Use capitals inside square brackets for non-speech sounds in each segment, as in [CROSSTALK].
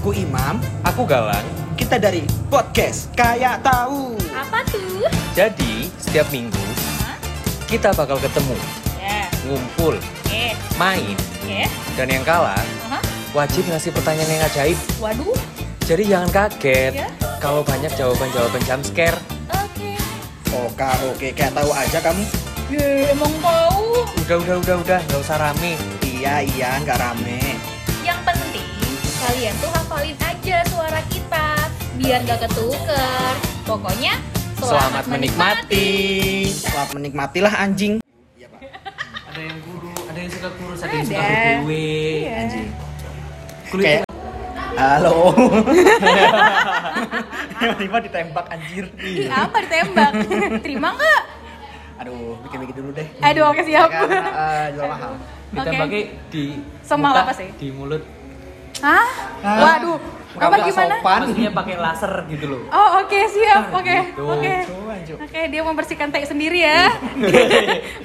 Aku Imam, Aku Galang. kita dari podcast Kayak Tahu. Apa tuh? Jadi, setiap minggu kita bakal ketemu, Ya, ngumpul, eh, main, ya. dan yang kalah Aha. wajib ngasih pertanyaan yang ajaib. Waduh. Jadi jangan kaget Ya. kalau banyak jawaban-jawaban jump scare. Oke. Oke, oke, kayak tahu aja kamu. Ye, emang tahu. Udah, udah, udah, udah, nggak usah rame. Iya, iya, nggak rame. Yang penting kalian tuh hafalin aja suara kita biar gak ketuker. Pokoknya Selamat menikmati. Selamat menikmatilah anjing. Ada yang guru, ada yang suka kurus, ada yang suka Ada. BBW, Iya. anjing. Kayak [LAUGHS] Halo. Tiba-tiba ditembak anjir. Ih, apa ditembak? [LAUGHS] Terima nggak? Aduh, bikin-bikin dulu deh. Aduh, oke siap. Karena eh, jual mahal. Ditambahnya di Semal muka, apa sih? Di mulut. Hah? Hah? [LAUGHS] Waduh. Muka Apa nggak gimana? sopan. [LAUGHS] Maksudnya pakai laser gitu loh. [LAUGHS] Oh, oke siap. Oke. Gitu. Oke. Coba, Jo. Oke, dia membersihkan tai sendiri ya.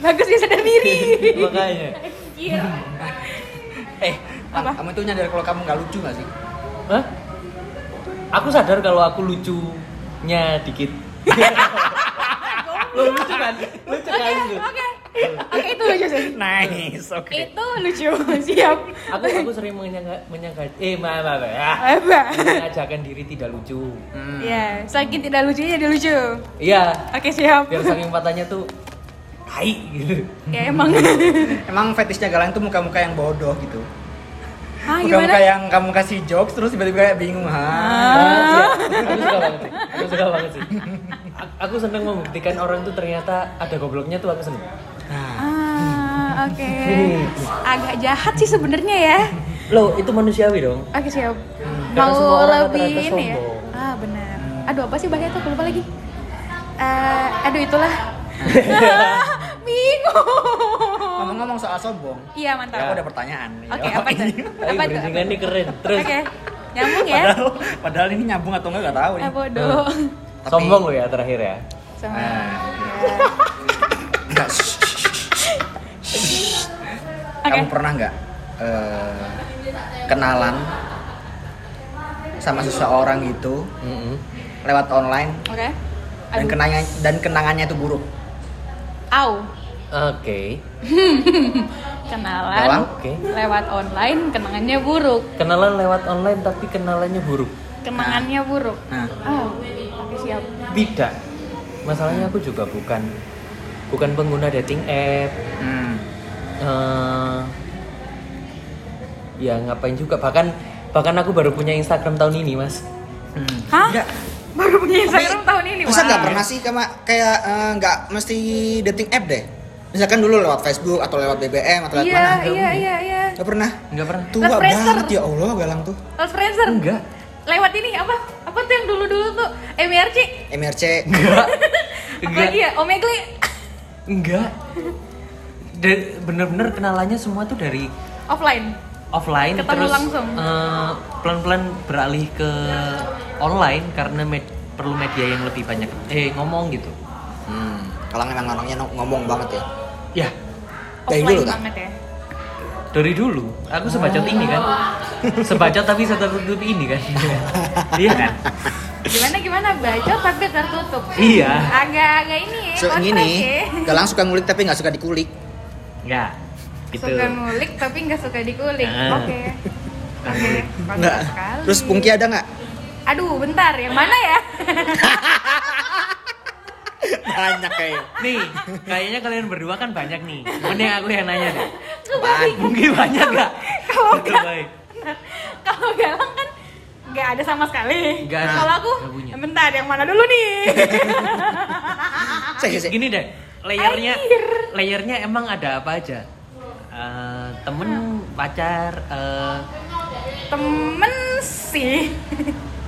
Bagus dia sadar diri. [LAUGHS] Iya. Makanya. Anjir. Eh, Apa? kamu tuh nyadar kalau kamu nggak lucu nggak sih? Hah? Aku sadar kalau aku lucunya dikit. Lo lucu kan? Lucu kan lu? Oke. Oke, itu lucu sih. Nice, oke. Itu lucu, [LAUGHS] siap. Aku aku sering menyangka menyangka eh ma ma ma ah. Apa? mengajarkan diri tidak lucu. Hmm. Ya, saking tidak lucunya jadi lucu. Iya, Oke, siap. biar saking patahnya tuh tai gitu. Ya emang. Emang fetishnya Galang tuh muka-muka yang bodoh gitu. Hah, Muka-muka Ah, gimana? yang kamu kasih jokes terus tiba-tiba kayak bingung, ha. Banget sih, Ah. aku suka banget sih. Aku suka banget sih. A- Aku seneng membuktikan orang tuh ternyata ada gobloknya tuh aku seneng. Nah, Ah, oke. Agak jahat sih sebenarnya ya. Loh, itu manusiawi dong. Oke, siap. Hmm. Karena Mau semua orang rata-rata lebih ini ya. sombong. Ah, benar. Aduh, apa sih bahasa itu? Aku lupa lagi. Eh, aduh itulah. [LAUGHS] [LAUGHS] Bingung. Ngomong-ngomong soal sombong, Iya, mantap. aku ada pertanyaan. nih. Oke, apa tuh? Tapi Apa tuh? berizingan Eh, ini keren. Terus Oke. Nyambung ya. Padahal, padahal ini nyambung Nah. atau enggak nggak tahu nih. Eh bodoh. Tapi- sombong lo ya terakhir ya. Sama. ya. Ah, Enggak, shh, shh, shh. Oke. Kamu pernah nggak eh, kenalan sama seseorang gitu Mm-mm. lewat online Oke. dan Aduh. kenangan dan kenangannya itu buruk? Au. Oke. Kenalan Galang? Oke. lewat online kenangannya buruk. Kenalan lewat online tapi kenalannya buruk. Kenangannya buruk. Nah, Oh, oke siap. Tidak. Masalahnya aku juga bukan bukan pengguna dating app. hmm, Eh, ya ngapain juga bahkan bahkan aku baru punya Instagram tahun ini, Mas. hmm. Hah? Enggak. Baru punya Instagram tahun ini. Masa wah. nggak pernah sih kama- kayak eh, nggak mesti dating app deh? Misalkan dulu lewat Facebook atau lewat BBM atau lewat Iya, mana? iya, iya, iya. Gak pernah. Enggak pernah. Tua Lewat Friendster. banget ya Allah Galang tuh. Lewat Friendster. Enggak. Lewat ini apa? Apa tuh yang dulu-dulu tuh? MRC? MRC. Enggak. Apa lagi ya? Omegle? Enggak. Dan bener-bener kenalannya semua tuh dari Offline. offline Ketemu terus langsung. eh, pelan-pelan beralih ke online karena med- perlu media yang lebih banyak eh ngomong gitu. Hmm. Galang emang orangnya no- ngomong banget ya. Ya, Dari Offline dulu kan? banget ya. dari dulu aku sebacot ini kan. Sebacot tapi saya tertutup ini kan. iya kan? Gimana gimana bacot tapi tertutup. Iya. Agak-agak ini ya. So kontras ini ya. Galang suka ngulik tapi nggak suka dikulik. Enggak. Gitu. Suka ngulik tapi nggak suka dikulik. Ah. Oke. Oke. Ngulik. kontras Nggak. sekali. Terus Pungki ada nggak? [LAUGHS] Aduh, bentar. Yang mana ya? [LAUGHS] Banyak ya. kayak. Nih, kayaknya kalian berdua kan banyak nih. Mending aku yang nanya deh. Kebalik. Mungkin banyak gak? Kalau Betul baik. Bentar. Kalau galang kan nggak ada sama sekali. Nggak ada. Kalau aku, Nggak punya. bentar. Yang mana dulu [LAUGHS] nih? Saya Iya. sih. Gini deh, layernya Air. layernya emang ada apa aja? Eh, temen, pacar, eh, Temen sih.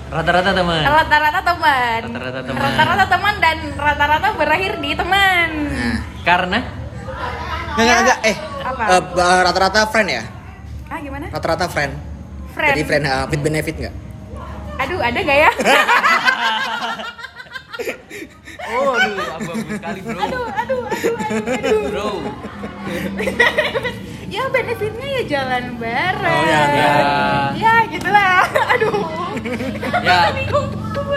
rata-rata temen. Rata-rata teman. Rata-rata teman. Rata-rata teman dan rata-rata berakhir di teman. Nah. Karena Nggak, nggak, nggak. Eh, Apa? eh, ba- rata-rata friend ya? Ah, gimana? Rata-rata friend. Friend. Jadi friend eh, [LAUGHS] with benefit nggak? Aduh, ada nggak ya? Oh, aduh, abu-abu sekali, bro. aduh aduh aduh aduh, aduh. Bro. ya benefitnya ya jalan bareng Oh, ya, ya. ya gitulah aduh Ya. bingung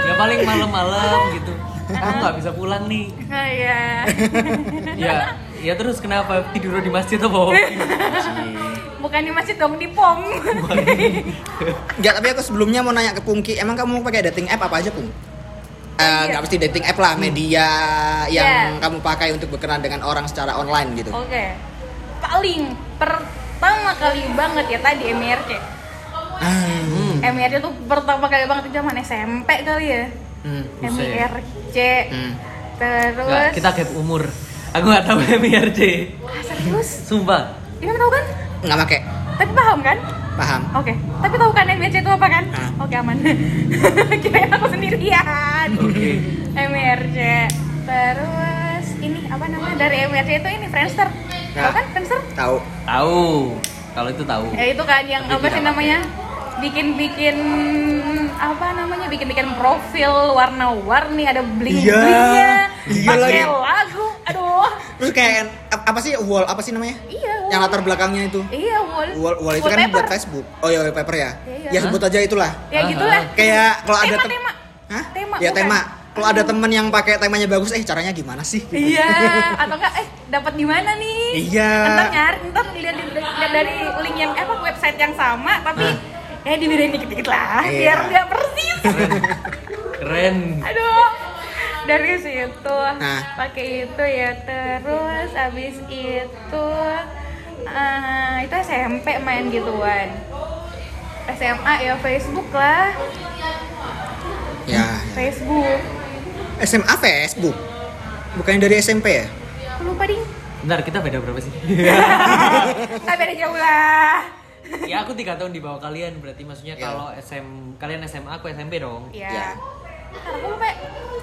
Ya paling malam-malam gitu. Aku nggak bisa pulang nih. nah, ya Ya, ya terus kenapa tidur di masjid atau bukan di masjid dong di pom Enggak, tapi aku sebelumnya mau nanya ke Pungki, emang kamu pakai dating app apa aja, Pung? Oh, Eh, iya. Enggak mesti dating app Hmm. lah, media yang Yeah. kamu pakai untuk berkenalan dengan orang secara online gitu. oke paling pertama kali banget ya tadi MRC Ah, Hmm. MRC tuh pertama kali banget itu zaman SMP kali ya hmm, Buset. MRC hmm. terus Nggak, kita gap umur. Aku nggak tahu MIRC. Ah, serius Sumpah. Ini tahu kan? Nggak pakai, Tapi paham kan? paham. Oke. Tapi tahu kan MRC itu apa kan? Ah. Oke aman. [LAUGHS] Kirain aku [LAUGHS] sendirian. Oke. MRC. Terus ini apa namanya dari MRC itu ini Friendster. Tahu Ah. kan Friendster? Tahu. Tahu. Kalau itu tahu. Ya itu kan yang Tapi apa sih tidak namanya? Bikin-bikin apa namanya? Bikin-bikin profil warna-warni ada bling-blingnya. Iya. Iya Pakai lagi. lagu. Aduh. Terus kayak ap- apa sih wall? Apa sih namanya? Iya. Yang latar belakangnya itu. Iya, wall. Wall, wall itu kan Wallpaper. buat Facebook. Oh iya, wallpaper ya. Iya. Ya sebut aja itulah. Ya gitulah. Ah, Kayak kalau ada Tema, tem- tema. Hah? Tema, Ya bukan. tema. Kalau ada temen yang pakai temanya bagus, eh caranya gimana sih? Iya, atau enggak eh dapat di mana nih? Iya. Ntar nyari, ntar lihat di- lihat dari link yang eh, apa website yang sama, tapi ya dibedain dikit-dikit lah, Nah. Iya. biar nggak persis. [LAUGHS] Keren. Aduh, dari situ Nah. pakai itu ya terus abis itu eh, itu SMP main gituan. SMA ya Facebook lah, Nah. Ya. Facebook. SMA Facebook. Bukannya dari SMP ya? Lupa ding, Bentar, kita beda berapa sih? nggak beda jauh lah. ya aku tiga tahun di bawah kalian berarti maksudnya Iya. kalau SM kalian SMA aku SMP dong. Ya. Iya. Ntar aku lupa.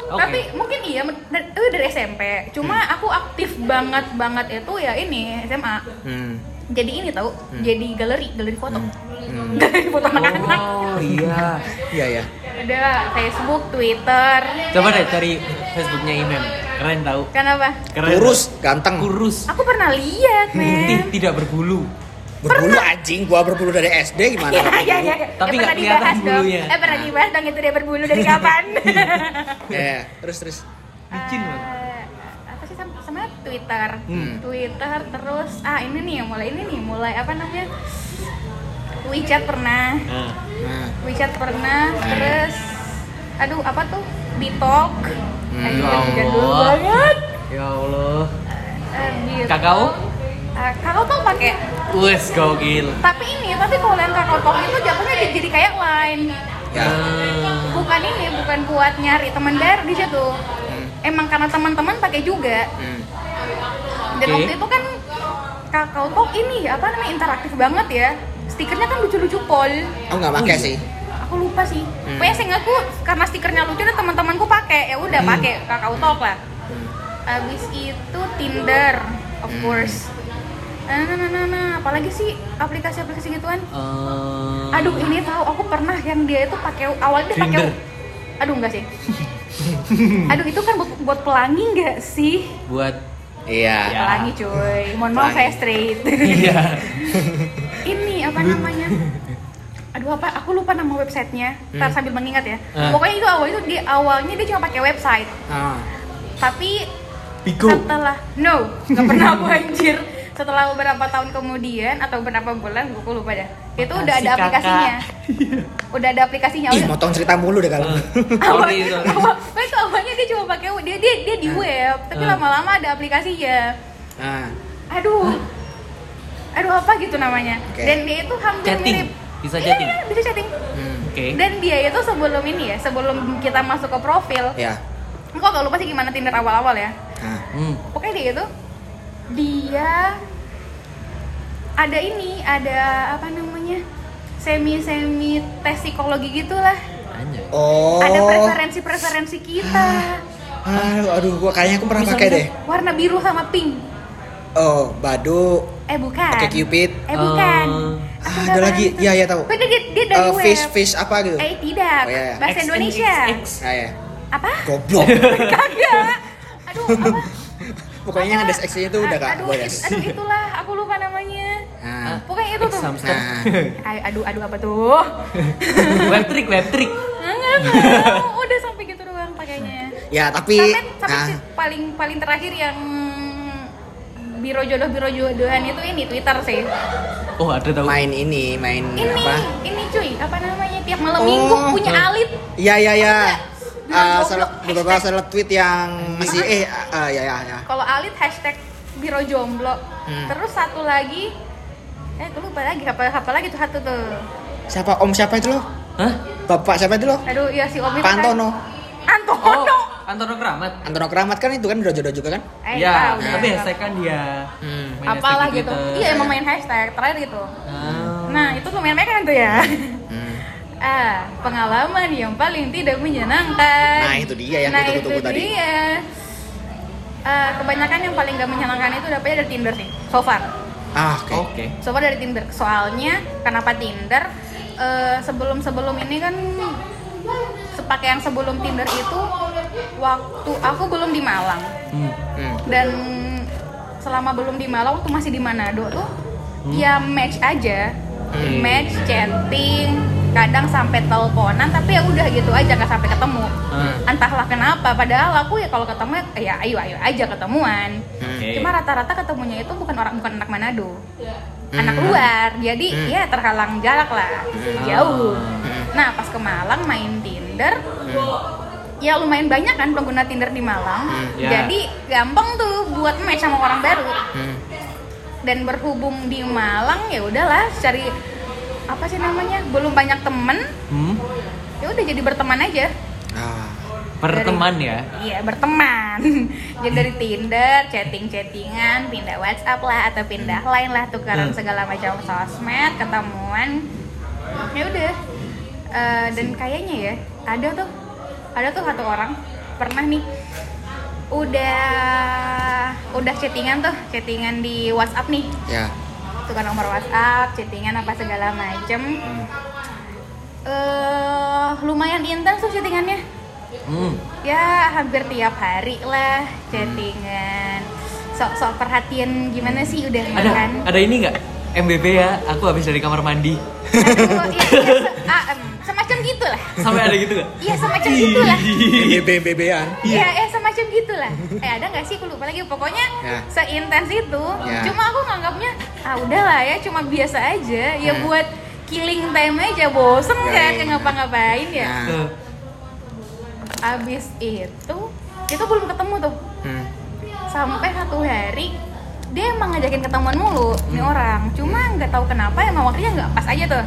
Oke. Tapi mungkin iya dari- itu dari SMP. Cuma aku aktif banget banget itu ya ini SMA. Hmm. Jadi ini tahu, jadi galeri, galeri foto. Hmm. Galeri foto anak-anak. Oh iya. Iya ya. Ada Facebook, Twitter. Coba deh cari Facebooknya Imam. Keren tahu. Kenapa? Keren. Kurus, ganteng. Kurus. Kan Aku pernah lihat, Putih men. tidak berbulu. Berbulu anjing, gua berbulu dari SD gimana? Iya, [LAUGHS] iya, iya. eh, pernah Tapi nggak kelihatan dibahas dong. bulunya. Eh, pernah dibahas dong itu dia berbulu dari kapan? Ya, terus terus. Licin Eh, loh. apa sih sama, sama Twitter Hmm. Twitter terus ah ini nih mulai ini nih mulai apa namanya WeChat pernah Nah, Nah. WeChat pernah Eh. terus aduh apa tuh Bitalk Eh, Hmm. jadul- jadul Ya Allah. banget ya Allah. Eh, Bitalk. Kakao? Eh, kakao tuh pakai Wes gokil. tapi ini tapi kalau yang kakao Talk itu jatuhnya dia jadi kayak lain Ya. Ah. bukan ini bukan buat nyari teman baru di situ Hmm. emang karena teman-teman pakai juga Hmm. Dan Oke. waktu itu kan kakao Talk ini apa namanya interaktif banget ya. Stikernya kan lucu-lucu pol. Aku nggak pakai Oh, iya. sih. Aku lupa sih. Hmm. Pokoknya saya ngaku karena stikernya lucu dan teman-temanku pakai. Ya udah Hmm. pakai kakao Talk lah. Abis itu Tinder, of Hmm. course. Nah, nah, nah, nah, nah. apalagi sih aplikasi-aplikasi gituan. Eh, Aduh, ini tahu aku pernah yang dia itu pakai awalnya dia pakai Tinder. Aduh enggak sih. Aduh itu kan buat, buat pelangi enggak sih? buat Iya. Ya. Pelangi cuy. Mohon maaf saya Pelangi. straight. [LAUGHS] iya. ini apa namanya aduh apa aku lupa nama websitenya ntar sambil mengingat ya Ah. pokoknya itu awal itu di awalnya dia cuma pakai website Ah. tapi Bigo. setelah no nggak pernah aku [LAUGHS] anjir setelah beberapa tahun kemudian atau berapa bulan gue lupa dah itu udah Makasih, ada Kakak. aplikasinya udah ada aplikasinya Ih, Ya Udah- motong cerita mulu deh kalau. Hmm. Eh, awal, Sorry, oh, iya, sorry. awal, itu awalnya dia cuma pakai dia dia dia di web tapi Ah. lama-lama ada aplikasinya Ah. aduh aduh apa gitu namanya Oke. dan dia itu hampir Ah. Chatting. mirip Bisa Iya, chatting. iya, bisa chatting Hmm. Oke. dan dia itu sebelum ini ya sebelum kita masuk ke profil Ya. aku agak lupa sih gimana tinder awal-awal ya Ah. Hmm. pokoknya dia itu dia ada ini ada apa namanya semi semi tes psikologi gitulah Anjay. Oh. ada preferensi preferensi kita Aduh, aduh, gua kayaknya aku pernah Bisa, pakai bisa. deh. warna biru sama pink Oh, Badu, eh bukan Oke Cupid. eh bukan Oh. Aku Ah, nggak ada paham lagi. itu. Ya, ya tahu. Pokoknya dia, dia dari Eh, web fish, fish apa gitu? eh tidak Oh, iya, iya. bahasa X and Indonesia XX. Ah, ya. apa apa? [LAUGHS] [LAUGHS] Goblok. Kagak. Aduh, apa? Pokoknya yang ada Apa? seksinya tuh udah A- gak aduh, boleh. it- aduh, itulah, aku lupa namanya. Nah, Pokoknya itu tuh. Exam stop. nah. [LAUGHS] Ay- aduh, aduh apa tuh? web trick, web trick. Enggak, enggak. Udah sampai gitu doang pakainya. Ya, tapi sampai, sampai nah, si- paling paling terakhir yang biro jodoh biro jodohan itu ini Twitter sih. Oh, ada tahu. main ini, main Ini, apa? ini cuy, apa namanya? Tiap malam Oh. minggu punya Oh. alit. Iya, iya, iya. Bilang Eh, goblok, seleb- beberapa hashtag. seleb tweet yang masih eh eh, ya ya ya. Kalau alit hashtag biro jomblo. Hmm. Terus satu lagi eh aku lupa lagi apa apa lagi tuh satu tuh. Siapa Om siapa itu loh? Hah? Bapak siapa itu loh? Aduh, iya si Omi. Pak Antono. Antono. Oh, Antono Kramat. Antono Keramat kan itu kan udah jodoh juga kan? Eh, ya, udah. tapi hashtag kan dia. Hmm. Main apalah hashtag gitu. Twitter. Iya, emang main hashtag terakhir gitu. Ah. Nah, itu lumayan mekan tuh [LAUGHS] ya. Hmm. Ah, pengalaman yang paling tidak menyenangkan. Nah, itu dia yang Nah, kutunggu-tunggu itu tadi. dia. Ah, kebanyakan yang paling gak menyenangkan itu dapetnya dari Tinder sih, so far. Ah, oke. Oke. So far dari Tinder. Soalnya kenapa Tinder? Eh, sebelum-sebelum ini kan sepakaian sebelum Tinder itu waktu aku belum di Malang Hmm. Hmm. dan selama belum di Malang tuh masih di Manado tuh ya match aja Hmm. match chatting kadang sampai teleponan tapi ya udah gitu aja nggak sampai ketemu Hmm. Ah, entahlah kenapa padahal aku ya kalau ketemu ya ayo ayo aja ketemuan Hmm. Oke. cuma rata-rata ketemunya itu bukan orang bukan anak Manado anak Hmm. luar jadi Hmm. ya terhalang jarak lah jauh Hmm. nah pas ke Malang main Tinder Hmm. ya lumayan banyak kan pengguna Tinder di Malang. Hmm, ya. Jadi gampang tuh buat match sama orang baru. Hmm. Dan berhubung di Malang ya udahlah cari apa sih namanya? Belum banyak temen, Hmm. ya udah jadi berteman aja. Ah. Perteman ya. Iya, berteman. [LAUGHS] jadi dari Tinder, chatting-chattingan, pindah WhatsApp lah atau pindah lain lah tukaran Hmm. segala macam sosmed, ketemuan. Ya udah. Eh, dan kayaknya ya, ada tuh ada tuh satu orang pernah nih udah udah chattingan tuh, chattingan di WhatsApp nih. [LAUGHS] Ya. Tukar nomor WhatsApp, chattingan apa segala macem Hmm. Eh, lumayan intens tuh chattingannya Hmm. ya hampir tiap hari lah chattingan sok-sok perhatian gimana sih udah Ada makan ada ini nggak? MBB ya, aku habis dari kamar mandi. [LAUGHS] Aduh, iya, iya, se- ah, em, semacam gitulah Sampai ada gitu nggak? iya semacam gitulah BBB-an. Iya, ya semacam gitulah. Eh ada nggak sih? Aku lupa lagi. Pokoknya Ya. seintens itu. Ya. Cuma aku nganggapnya, ah udahlah ya, cuma biasa aja. Ya Hmm. buat killing time aja. Bosen Ya, kan ya. ngapa-ngapain ya. Nah. Eh, Abis itu, itu belum ketemu tuh. Hmm. sampai satu hari dia emang ngajakin ketemuan mulu nih orang cuma nggak tahu kenapa emang waktunya nggak pas aja tuh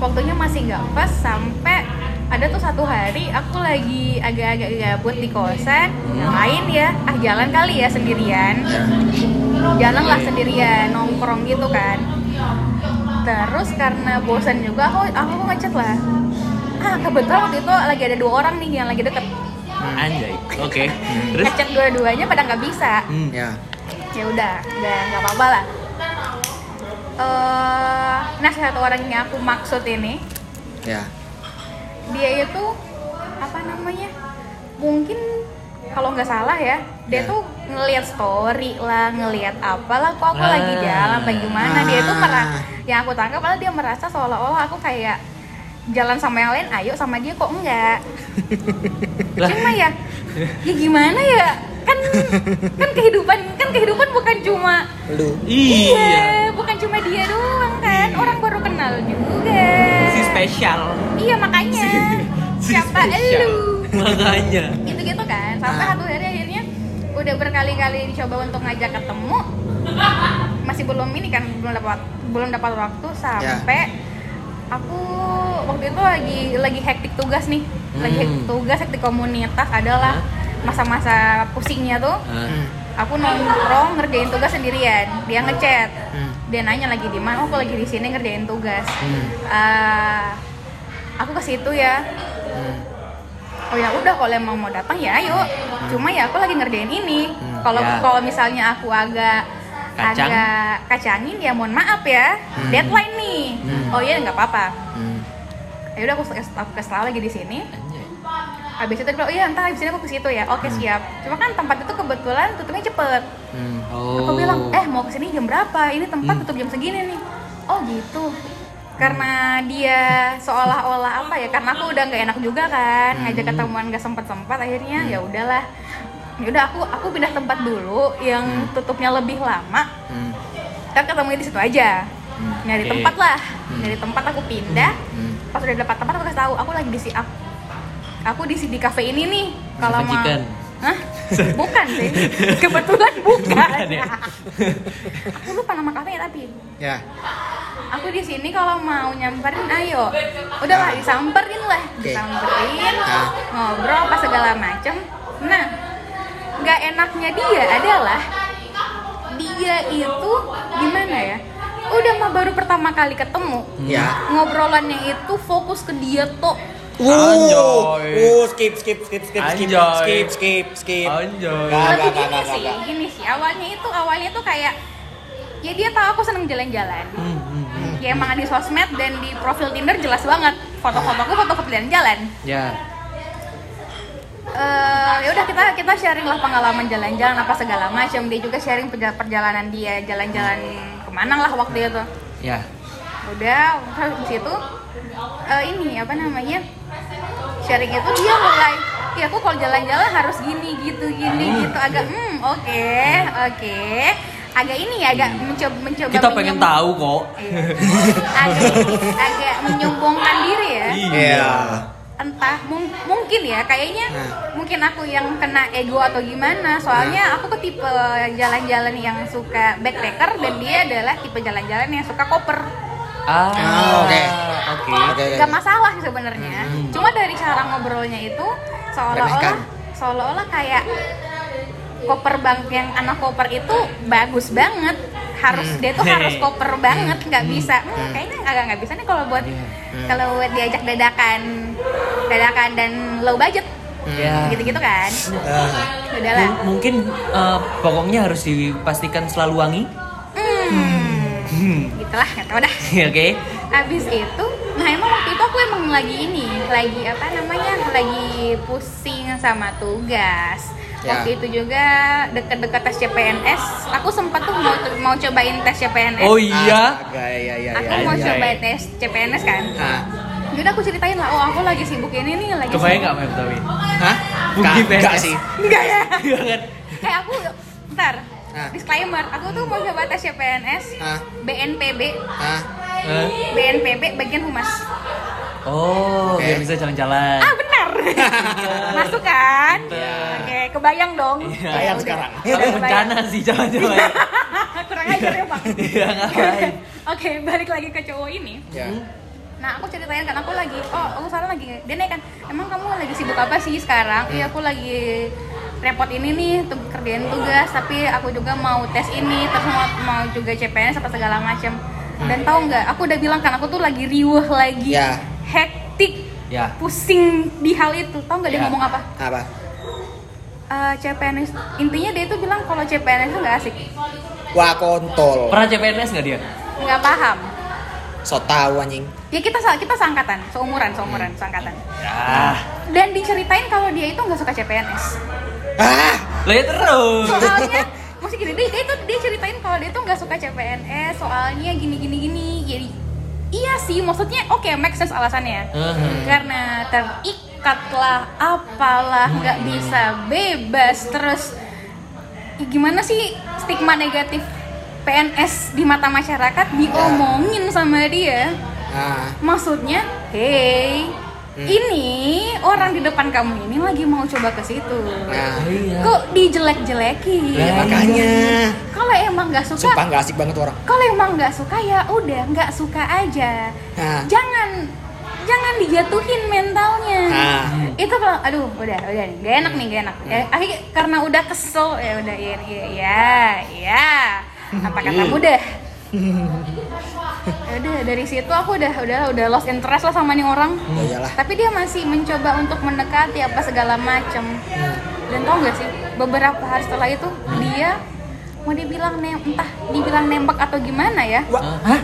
waktunya masih nggak pas sampai ada tuh satu hari aku lagi agak-agak gabut di kosan main ya ah jalan kali ya sendirian Ya. jalan lah sendirian nongkrong gitu kan terus karena bosan juga aku aku ngechat lah ah kebetulan waktu itu lagi ada dua orang nih yang lagi deket Anjay. Oke. Terus ngechat dua-duanya pada nggak bisa Hmm. Ya. ya udah nggak nggak apa-apa lah eh nah satu orang yang aku maksud ini Ya. dia itu apa namanya mungkin kalau nggak salah ya dia Ya. tuh ngelihat story lah ngelihat apalah kok aku Ah. lagi jalan apa gimana dia tuh Ah. merasa yang aku tangkap malah dia merasa seolah-olah aku kayak jalan sama yang lain ayo sama dia kok enggak Lah. cuma ya ya gimana ya kan kan kehidupan kan kehidupan bukan cuma Lu. Iya. Iya, bukan cuma dia doang kan. Orang baru kenal juga. Si [LAUGHS] spesial. Iya, makanya. Si Siapa spesial. elu? Makanya. Gitu-gitu kan. Sampai Ah. satu hari akhirnya udah berkali-kali dicoba untuk ngajak ketemu. Masih belum ini kan belum dapat belum dapat waktu Ya. sampai aku waktu itu lagi lagi hektik tugas nih. Lagi Hmm. Ya. hektik tugas, hektik komunitas adalah masa-masa pusingnya tuh. Ah. Hmm. Aku nongkrong ngerjain tugas sendirian. Dia ngechat Hmm. dia nanya lagi di mana oh, aku lagi di sini ngerjain tugas Hmm. Ah, aku ke situ ya Hmm. oh ya udah kalau emang mau datang ya ayo cuma ya aku lagi ngerjain ini Hmm, kalau ya. kalau misalnya aku agak Kacang. agak kacangin ya mohon maaf ya Hmm. deadline nih Hmm. oh iya nggak apa-apa Hmm. ya udah aku ke aku ke Selaw lagi di sini Anjay. Abis itu dia bilang, iya entah abis ini aku ke situ ya. Oke siap. Cuma kan tempat itu kebetulan tutupnya cepet. Hmm. Oh. Hmm. Aku bilang, eh mau kesini jam berapa? Ini tempat tutup jam segini nih. Oh gitu. Karena dia seolah-olah apa ya? Karena aku udah nggak enak juga kan, ngajak Hmm. ketemuan nggak sempet-sempet. Akhirnya ya udahlah. Ya udah aku aku pindah tempat dulu yang Hmm. tutupnya lebih lama. Hmm. Kan ketemu di situ aja. Nyari Hmm, Oke. Hmm. tempat lah. Nyari tempat aku pindah. Hmm. Pas udah dapat tempat aku kasih tahu, aku lagi di si aku, aku di si- di kafe ini nih. Kalau Cafe mau chicken. Hah? Bukan sih. Kebetulan bukan. Bukan ya? aku lupa nama kafenya tapi Ya. aku di sini kalau mau nyamperin ayo. Udahlah disamperin lah, Oke. disamperin, Ah. ngobrol apa segala macem. Nah, nggak enaknya dia adalah dia itu gimana ya? Udah mah baru pertama kali ketemu, Ya. ngobrolannya itu fokus ke dia tuh Wow. Anjoy. Wow, skip skip skip skip skip Anjoy. skip skip skip. Anjoy. Gak, Tapi gak, gak, gini gak, sih, gak. gini sih. Awalnya itu awalnya itu kayak ya dia tahu aku seneng jalan-jalan. Hmm, hmm, hmm. Ya emang di sosmed dan di profil Tinder jelas banget foto-foto aku foto-foto jalan-jalan. Ya. Eh ya udah kita kita sharing lah pengalaman jalan-jalan apa segala macam. Dia juga sharing perja- perjalanan dia jalan-jalan kemana lah waktu itu. Ya. Udah terus di situ eh, ini apa namanya sharing itu dia mulai ya aku kalau jalan-jalan harus gini gitu gini gitu agak hmm oke oke agak ini ya agak mencoba mencoba Kita pengen menyem- tahu kok. Iya. agak agak menyombongkan diri ya Iya. entah mung- mungkin ya kayaknya Nah. mungkin aku yang kena ego atau gimana soalnya aku ke tipe jalan-jalan yang suka backpacker dan dia adalah tipe jalan-jalan yang suka koper Ah, Ah, oke. Oke. Oke. oke. nggak masalah sih sebenarnya cuma dari cara ngobrolnya itu Remehkan. seolah-olah seolah-olah kayak koper bank yang anak koper itu bagus banget harus dia tuh harus koper banget nggak bisa "Hmm, kayaknya agak nggak bisa nih kalau buat kalau buat diajak dadakan dadakan dan low budget Ya. gitu-gitu kan Ah. udahlah M- Mungkin eh, bokongnya harus dipastikan selalu wangi. [LAUGHS] hmm. Hmm. gitulah nggak tahu dah Ya, Oke. Abis itu, nah emang waktu itu aku emang lagi ini, lagi apa namanya, lagi pusing sama tugas. Ya. Waktu itu juga deket-deket tes CPNS, aku sempat tuh mau mau cobain tes CPNS. Oh iya. Astaga, iya iya aku iya. Ah. mau iya. coba. cobain tes CPNS kan. Hah? Yaudah aku ceritain lah, oh aku lagi sibuk ini nih, lagi. sibuk. Kebayang nggak Mem [LAUGHS] tapi? Hah? Mungkin Nggak- nggak PNS. sih. Enggak ya. Banget. Kayak aku, ntar. Ah. Disclaimer, aku tuh mau coba tes CPNS, Ah. BNPB, Hah? Eh, BNPB bagian humas. Oh, Oke. biar bisa jalan-jalan. Ah benar. [LAUGHS] Masuk kan? Benar. Oke, kebayang dong. Iya. Ya Bayang udah. sekarang. Tapi bencana sih jalan-jalan. [LAUGHS] Kurang ajar ya, Pak. Iya, ngapain? [LAUGHS] Oke, balik lagi ke cowok ini. Ya. Nah, aku ceritain kan aku lagi oh, aku sekarang lagi dia naik kan. Emang kamu lagi sibuk apa sih sekarang? Iya, aku lagi repot ini nih tuh kerjaan tugas tapi aku juga mau tes ini terus mau, mau juga CPNS apa segala macam dan tahu nggak aku udah bilang kan aku tuh lagi riuh lagi Iya. Ya. hektik Ya. pusing di hal itu tahu nggak dia Ya. ngomong apa Apa? Eh, CPNS intinya dia itu bilang kalau CPNS itu nggak asik Wah kontol. Pernah CPNS nggak dia? nggak paham So tahu anjing. ya kita sa- kita seangkatan seumuran seumuran seangkatan Ya. dan diceritain kalau dia itu nggak suka CPNS Ah. Lah ya terus. soalnya mesti gini dia, dia itu dia ceritain kalau dia tuh nggak suka CPNS soalnya gini gini gini jadi iya sih maksudnya oke make sense alasannya Hmm. Mhm. karena terikat lah apalah Hmm. nggak bisa bebas terus ya gimana sih stigma negatif PNS di mata masyarakat diomongin Ya. sama dia Ah. maksudnya hey Hmm. ini orang di depan kamu ini lagi mau coba ke situ Nah. Iya. kok dijelek-jelekin Ya, makanya. kalau emang nggak suka Sumpah nggak asik banget orang. kalau emang nggak suka ya udah nggak suka aja Nah. jangan jangan dijatuhin mentalnya Nah. itu kalau aduh udah udah nih gak enak nih gak enak ya akhirnya karena udah kesel ya udah ya ya ya, ya. apa kata mudah Ya udah dari situ aku udah udah udah lost interest lah sama nih orang Ya iyalah. tapi dia masih mencoba untuk mendekati apa segala macem dan tau gak sih beberapa hari setelah itu dia mau dibilang nem entah dibilang nembak atau gimana ya Hah?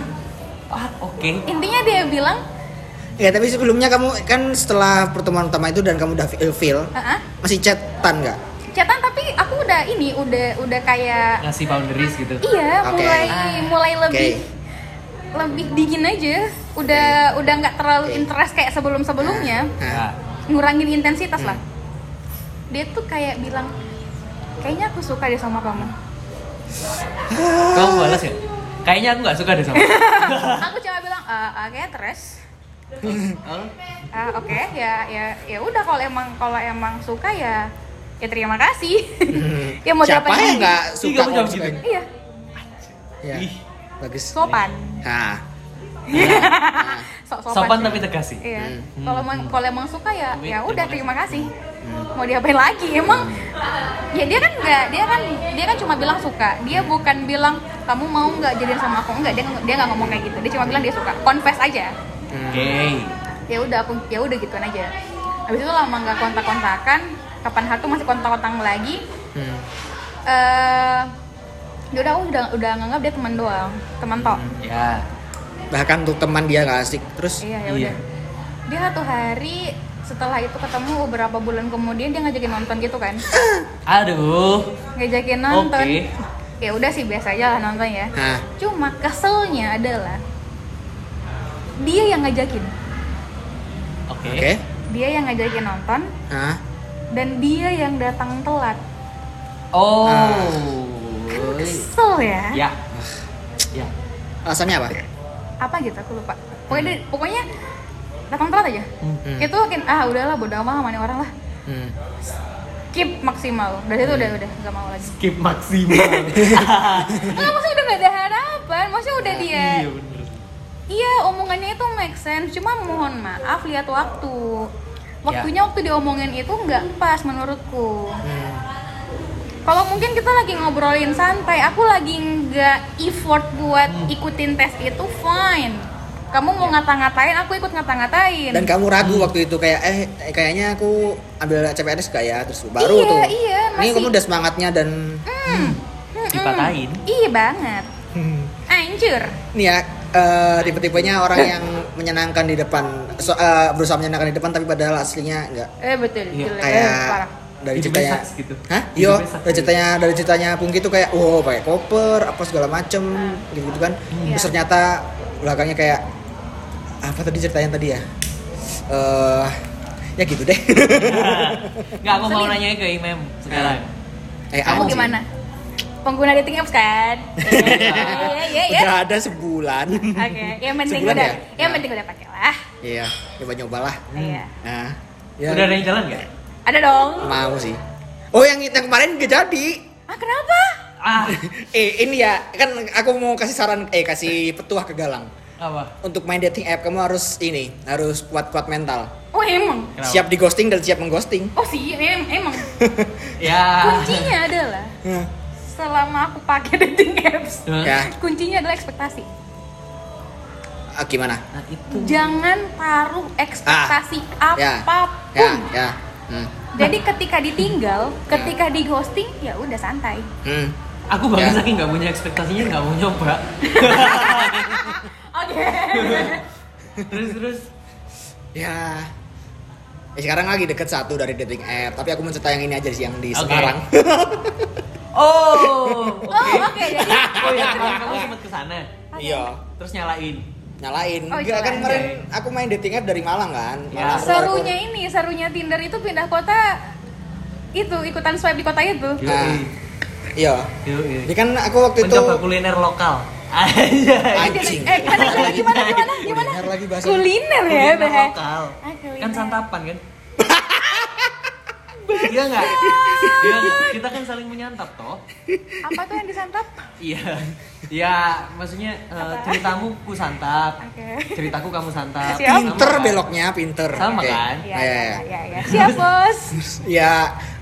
Ah, oke. intinya dia bilang Ya tapi sebelumnya kamu kan setelah pertemuan utama itu dan kamu udah feel- feel Heeh. masih chatan nggak? Chatan tapi aku udah ini udah udah kayak ngasih boundaries gitu Iya, Oke. Ah, mulai mulai lebih Oke. lebih dingin aja. Udah udah nggak terlalu Oke. interest kayak sebelum-sebelumnya. Nah, [LAUGHS] Nah, Ngurangin intensitas Hmm. lah. Dia tuh kayak bilang, kayaknya aku suka deh sama [LAUGHS] kamu. kamu balas ya kayaknya aku nggak suka deh sama aku cuma bilang, "Eh, oke terus, Oh, Eh, oke ya ya ya udah kalau emang kalau emang suka ya ya terima kasih. [LAUGHS] ya mau Hmm. siapa diapain yang lagi? nggak Ih, suka kamu kalau jawab suka? gitu. Iya, Ya, Ih. bagus. sopan, Nah, Sok sopan sih. tapi tegas sih Iya. Hmm. Kalau emang kalau emang suka ya Duit, ya udah terima terima kasih. Hmm. Mau diapain lagi? Emang ya dia kan nggak dia kan dia kan cuma bilang suka. Dia bukan bilang kamu mau nggak jadian sama aku nggak dia dia nggak ngomong kayak gitu. Dia cuma bilang dia suka. Confess aja. oke Ya udah aku ya udah gituan aja. Habis itu lama nggak kontak-kontakan. Kapan hatu masih kontak-kontak lagi? hmm. Eh ya udah aku udah udah nganggap dia teman doang, teman tok. ya bahkan untuk teman dia nggak asik. Terus Iya ya Iya. udah. Dia satu hari setelah itu ketemu beberapa bulan kemudian dia ngajakin nonton gitu kan. aduh Ngajakin nonton. Oke. Ya udah sih biasa aja lah nonton ya. nah, Cuma keselnya adalah dia yang ngajakin. oke oke. Dia yang ngajakin nonton Nah, dan dia yang datang telat. oh Ah. Kesel ya. ya ya alasannya apa? Apa gitu aku lupa. Pokoknya dia- pokoknya datang telat aja. Hmm. Hmm. Itu makin ah udahlah bodo amat sama nih orang lah. Hmm. Keep maksimal. Dari itu udah udah nggak mau lagi. skip maksimal Enggak, maksudnya udah gak ada harapan, maksudnya udah dia iya bener Iya, omongannya itu make sense, cuma mohon maaf lihat waktu Waktunya waktu diomongin itu nggak pas menurutku Hmm. Kalau mungkin kita lagi ngobrolin santai, aku lagi nggak effort buat ikutin tes itu, fine Kamu mau ngata-ngatain, aku ikut ngata-ngatain Dan kamu ragu waktu itu kayak eh eh, kayaknya aku ambil CPNS gak ya? Terus baru Iya, tuh. iya, Ini masih- kamu udah semangatnya dan Mm-mm. dipatahin. Hmm. Iya banget, Hmm. anjir Nih ya eh, tipe-tipenya orang yang menyenangkan di depan so, eh, berusaha menyenangkan di depan tapi padahal aslinya enggak Eh betul, Iya, jelek, kayak Eh, parah dari Hidupnya ceritanya sucks gitu. Hah? Hidupnya Yo, sucks dari gitu. ceritanya dari ceritanya Pungki tuh kayak wow pakai koper apa segala macem gitu, kan. Terus Hmm. Iya. ternyata belakangnya kayak apa tadi ceritanya tadi ya? Eh ya gitu deh. [LAUGHS] nggak aku mau Selin. nanya ke Imam sekarang eh, Kamu anjing. gimana? Pengguna dating apps kan? Iya, iya, iya. Udah ada sebulan. [LAUGHS] Oke, yang penting Sebulan udah, ya? yang penting udah pakai lah. Iya, coba-nyoba lah. Iya. Nah, udah ada yang jalan nggak Ada dong. mau sih. Oh yang, yang kemarin gak jadi. Ah, kenapa? ah Eh ini ya kan aku mau kasih saran eh kasih petuah ke Galang apa untuk main dating app kamu harus ini harus kuat-kuat mental Oh, emang. Kenapa? siap di ghosting dan siap mengghosting Oh, sih, em- emang. ya Ah. Kuncinya adalah Hah. selama aku pakai dating apps, Hah? ya kuncinya adalah ekspektasi. Hmm. ah, gimana nah itu Jangan taruh ekspektasi ya ya Hmm. apapun. ya hmm. Jadi ketika ditinggal, ketika di ghosting, ya udah santai. Hmm. aku bahkan Ya. saking nggak punya ekspektasinya nggak mau nyoba [LAUGHS] Oke. terus terus ya Eh, sekarang lagi deket satu dari dating app tapi aku mencerita yang ini aja sih yang di Oke. [LAUGHS] sekarang oh Oh, oke. Jadi oh ya kemarin kamu sempat kesana iya terus nyalain nyalain Oh, enggak kan nyalain. kemarin aku main dating app dari Malang kan Ya. Malang keluar serunya ini serunya Tinder itu pindah kota itu ikutan swipe di kota itu kota. Yoi. nah, iya Yoi. jadi kan aku waktu itu mencoba kuliner lokal aja anjing eh gimana gimana gimana gimana gimana Kuliner lagi bahasa kuliner ya kuliner Beh lokal Ah, kuliner. kan santapan kan Iya nggak? Iya nggak? Kita kan saling menyantap toh. apa tuh yang disantap Iya. Ya, maksudnya eh, ceritamu ku santap. Oke. Ceritaku kamu santap. Siap. Sama Pinter kan? beloknya, pinter. Sama Oke. kan? Iya, iya, iya. ya, ya. siap bos Ya,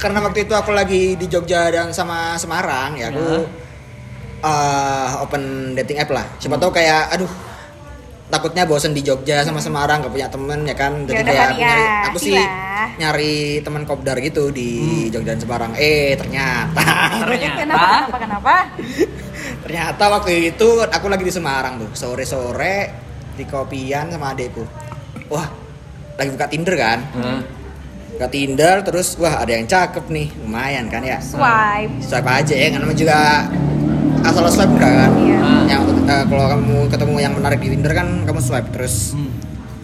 karena waktu itu aku lagi di Jogja dan sama Semarang, ya aku eh, open dating app lah. Siapa tahu kayak, aduh, takutnya bosen di Jogja sama Semarang gak punya temen ya kan Ya jadi udah kayak kali ya, nyari- aku sih silah. nyari teman kopdar gitu di Jogja dan Semarang eh ternyata kenapa Ternyata kenapa kenapa ternyata waktu itu aku lagi di Semarang tuh sore sore di kopian sama adekku wah lagi buka Tinder kan Heeh. buka Tinder terus wah ada yang cakep nih lumayan kan ya swipe swipe aja ya kan namanya juga asal swipe enggak kan Iya. Ah. yang eh, kalau kamu ketemu yang menarik di Tinder kan kamu swipe terus Hmm.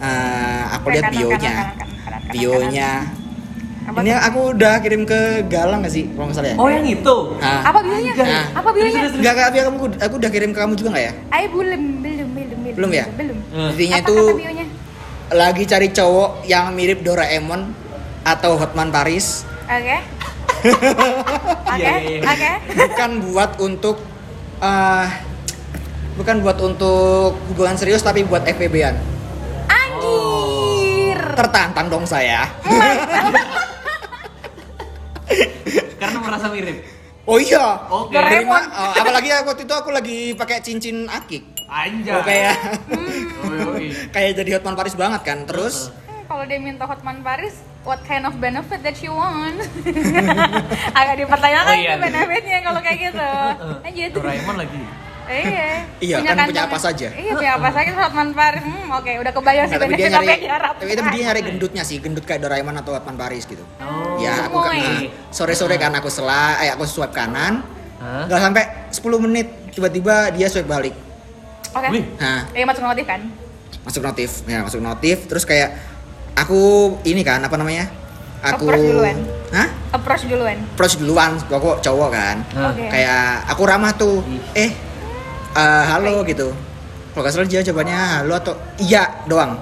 eh, aku lihat Kanan, kanan, bio-nya kanan, kanan, kanan, kanan, bio-nya kanan. apa ini aku udah kirim ke Galang gak sih kalau nggak salah ya Oh yang itu. Nah. apa bionya Nah. apa bionya Terus, terus, Enggak, enggak, Fia, kamu aku udah kirim ke kamu juga nggak ya? Ayo belum belum belum belum Belum ya? belum Eh, Intinya apa itu kata bionya lagi cari cowok yang mirip Doraemon atau Hotman Paris, oke Iya, oke iya, iya. oke bukan buat untuk eh, bukan buat untuk hubungan serius tapi buat FPB-an. anjir Tertantang dong saya. Karena merasa mirip. Oh iya. Oke. Doraemon. Terima, eh, apalagi waktu itu aku lagi pakai cincin akik. Anjay. Oh, kayak [LAUGHS] Oh, yoi. kayak jadi Hotman Paris banget kan. Terus Hmm, kalau dia minta Hotman Paris what kind of benefit that you [LAUGHS] want agak dipertanyakan Oh, iya. itu benefitnya kalau kayak [LAUGHS] gitu lanjut Doraemon lagi. Eh, iya Iya, kan kantong- punya apa saja. iya punya apa saja terus Hotman Paris hmm, oke udah kebayang sih Nah, tapi dia benefit apa nyari yang diharapkan tapi tapi dia nyari gendutnya sih, gendut kayak Doraemon atau Hotman Paris gitu. Oh. Ya, aku Gemoy. karena sore-sore kan aku sela, eh aku swipe kanan. Hah? Gak sampai 10 menit tiba-tiba dia swipe balik. oke Wih. Nah, Iya masuk notif kan? masuk notif. Ya, masuk notif terus kayak aku ini kan apa namanya? Aku Approach duluan. Hah? Approach duluan. Approach duluan, gua kok cowok kan. Hah. Oke. Kayak aku ramah tuh. Ih. Eh eh, halo gitu. Kalau nggak salah dia jawabannya halo atau iya doang.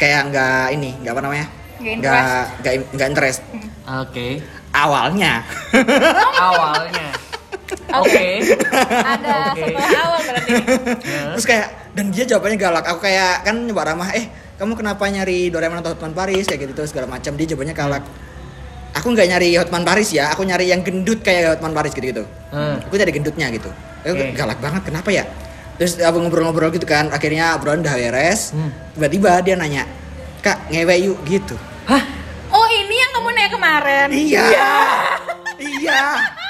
Kayak nggak ini, nggak apa namanya? Nggak Nggak nggak nggak interest. Oke. Awalnya. Oh, iya. Awalnya. Oke. Ada Oke. setelah awal berarti. Hah? Terus kayak dan dia jawabannya galak. Aku kayak kan nyoba ramah, "Eh, kamu kenapa nyari Doraemon atau Hotman Paris?" kayak gitu terus segala macam. Dia jawabannya galak. Aku nggak nyari Hotman Paris ya, aku nyari yang gendut kayak Hotman Paris gitu-gitu. Hah. Aku nyari gendutnya gitu. Aku Hmm. Oke. galak banget, kenapa ya? Terus aku ngobrol-ngobrol gitu kan, akhirnya obrolan udah beres. Hmm. Tiba-tiba dia nanya, "Kak, ngewe yuk" gitu. Oh ini yang kamu nanya kemarin. Iya. Iya.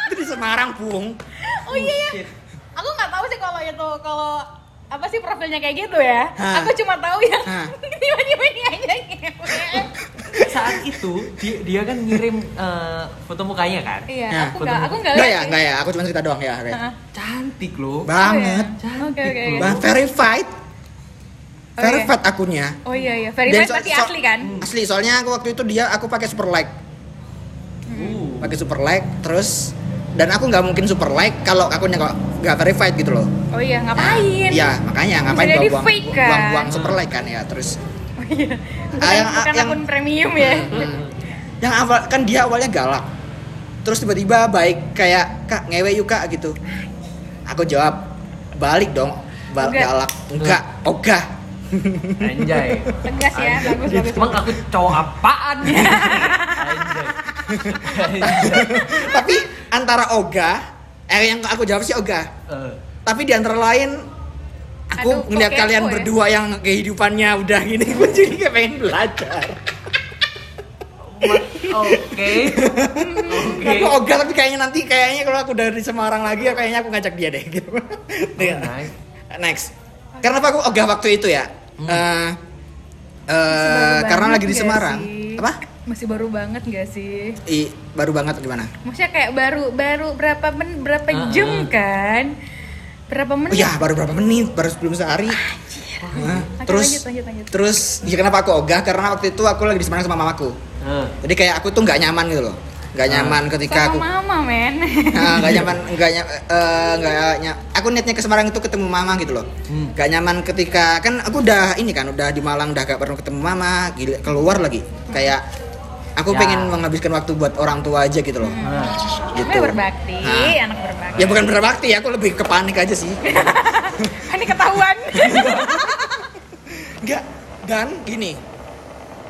Itu di Semarang, Bung. Oh iya ya. Aku nggak tahu sih kalau itu kalau apa sih profilnya kayak gitu ya. Hah. Aku cuma tahu yang Hah. [LAUGHS] tiba-tiba ini aja ngewe. Saat itu dia, dia kan ngirim eh, foto mukanya kan. Iya, Nah, aku nggak aku nggak Enggak lihat ya, sih. enggak ya. Aku cuma cerita doang ya. oke. Heeh. Cantik loh. Banget. Oh, iya. Oke oke. Cantik oke. Bah, verified. Oh, Verified akunnya. Oh iya iya. Dan Verified so- pasti so- Hmm. asli kan? Asli, soalnya aku waktu itu dia aku pakai super like, Uh. pakai super like terus dan aku nggak mungkin super like kalau akunnya kok nggak verified gitu loh. Oh iya ngapain? Iya, makanya ngapain jadi buang-buang fake, kan? buang-buang super like kan ya. Terus Oh, iya. Ah, Bukan, yang- bukan yang- Hmm. akun premium ya. yang awal kan dia awalnya galak. Terus tiba-tiba baik kayak Kak ngewe yuk Kak gitu. Aku jawab balik dong. Ba- Enggak. galak. Enggak, ogah. Uh, Anjay. Tegas ya, Anjay. bagus bagus. Eh, Emang aku cowok apaan? [LAUGHS] Anjay. Anjay. Tapi antara ogah eh yang aku jawab sih ogah. Eh, tapi di antara lain aku Aduh, kok ngeliat kepo kalian ya? berdua yang kehidupannya udah gini [LAUGHS] gue jadi kayak pengen belajar Oke. aku Oke. ogah tapi kayaknya nanti kayaknya kalau aku dari Semarang lagi ya kayaknya aku ngajak dia deh gitu Nih, nice. next karena apa aku ogah waktu itu ya Eh eh, Baru karena banget lagi di nggak Semarang sih? apa Masih baru banget gak sih? I, baru banget gimana Maksudnya kayak baru baru berapa men berapa Ah. jam kan? Berapa oh menit? ya baru berapa menit baru sebelum sehari Nah, Lanjut, terus lanjut, lanjut, lanjut. terus ya kenapa aku ogah karena waktu itu aku lagi di Semarang sama mamaku Eh, jadi kayak aku tuh nggak nyaman gitu loh nggak nyaman ketika Sama aku [LAUGHS] mama men. Nah, nggak nyaman nggak nyaman nggak nyaman aku niatnya ke Semarang itu ketemu mama gitu loh Hmm. nggak nyaman ketika kan aku udah ini kan udah di Malang udah gak pernah ketemu mama gila, keluar lagi kayak aku Ya. pengen menghabiskan waktu buat orang tua aja gitu loh eh. gitu Namanya berbakti, Ah. anak berbakti. ya bukan berbakti ya aku lebih ke panik aja sih Ah, Ini ketahuan. nggak dan gini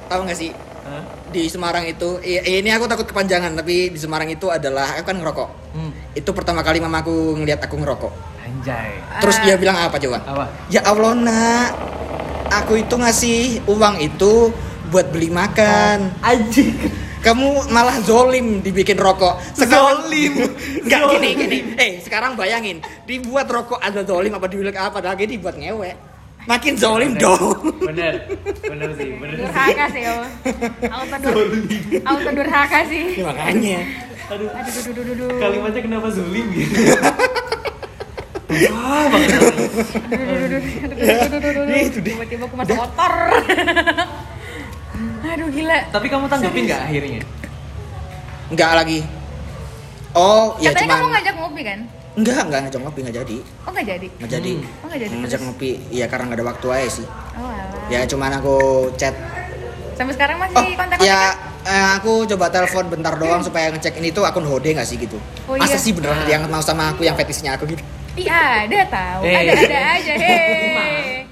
tahu nggak sih Hah? di Semarang itu i- ini aku takut kepanjangan tapi di Semarang itu adalah aku kan ngerokok Hmm. itu pertama kali mamaku ngelihat aku ngerokok Anjay. terus Ah. dia bilang apa coba Apa? Ya Allah nak, aku itu ngasih uang itu buat beli makan. Anjing. Kamu malah zolim dibikin rokok. Zolim. [LAUGHS] Nggak, Zolim. gini gini. Eh sekarang bayangin, dibuat rokok ada zolim apa dibilang apa? Lagi dibuat ngewek. makin zolim dong [LAUGHS] bener bener sih bener sih durhaka sih yo auto dur auto durhaka sih ya, makanya aduh aduh duh, duh, duh, duh, duh. kalimatnya kenapa zulim gitu Wah, banget. Aduh, duh, duh, duh, duh, duh, duh, duh, duh, duh, duh. tiba-tiba aku masuk motor [LAUGHS] aduh gila Tapi kamu tanggepin nggak akhirnya? nggak lagi oh ya katanya kamu cuman ngajak ngopi kan nggak nggak ngajak ngopi nggak jadi oh nggak jadi nggak jadi Hmm. oh nggak jadi ngajak terus. ngopi ya karena nggak ada waktu aja sih oh alah ya cuman aku chat sampai sekarang masih oh kontak ya eh, aku coba telepon bentar doang supaya ngecek ini tuh akun Hode nggak sih gitu Hmm. Oh, iya. masa sih beneran ada yang mau sama aku yang fetishnya aku gitu [LAUGHS] Iya ada tahu, Eh. ada ada aja hei.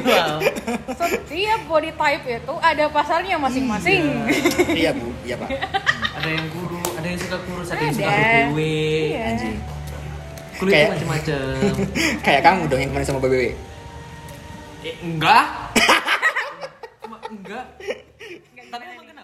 Wow. Setiap body type itu ada pasarnya masing-masing. iya bu iya pak Ada yang guru, ada yang suka kurus, ada yang suka Ada. kue. Iya. anjing Kulit Kayak- macam-macam. [LAUGHS] kayak kamu dong yang kemarin sama BBW Eh, enggak. Cuma enggak. Tapi emang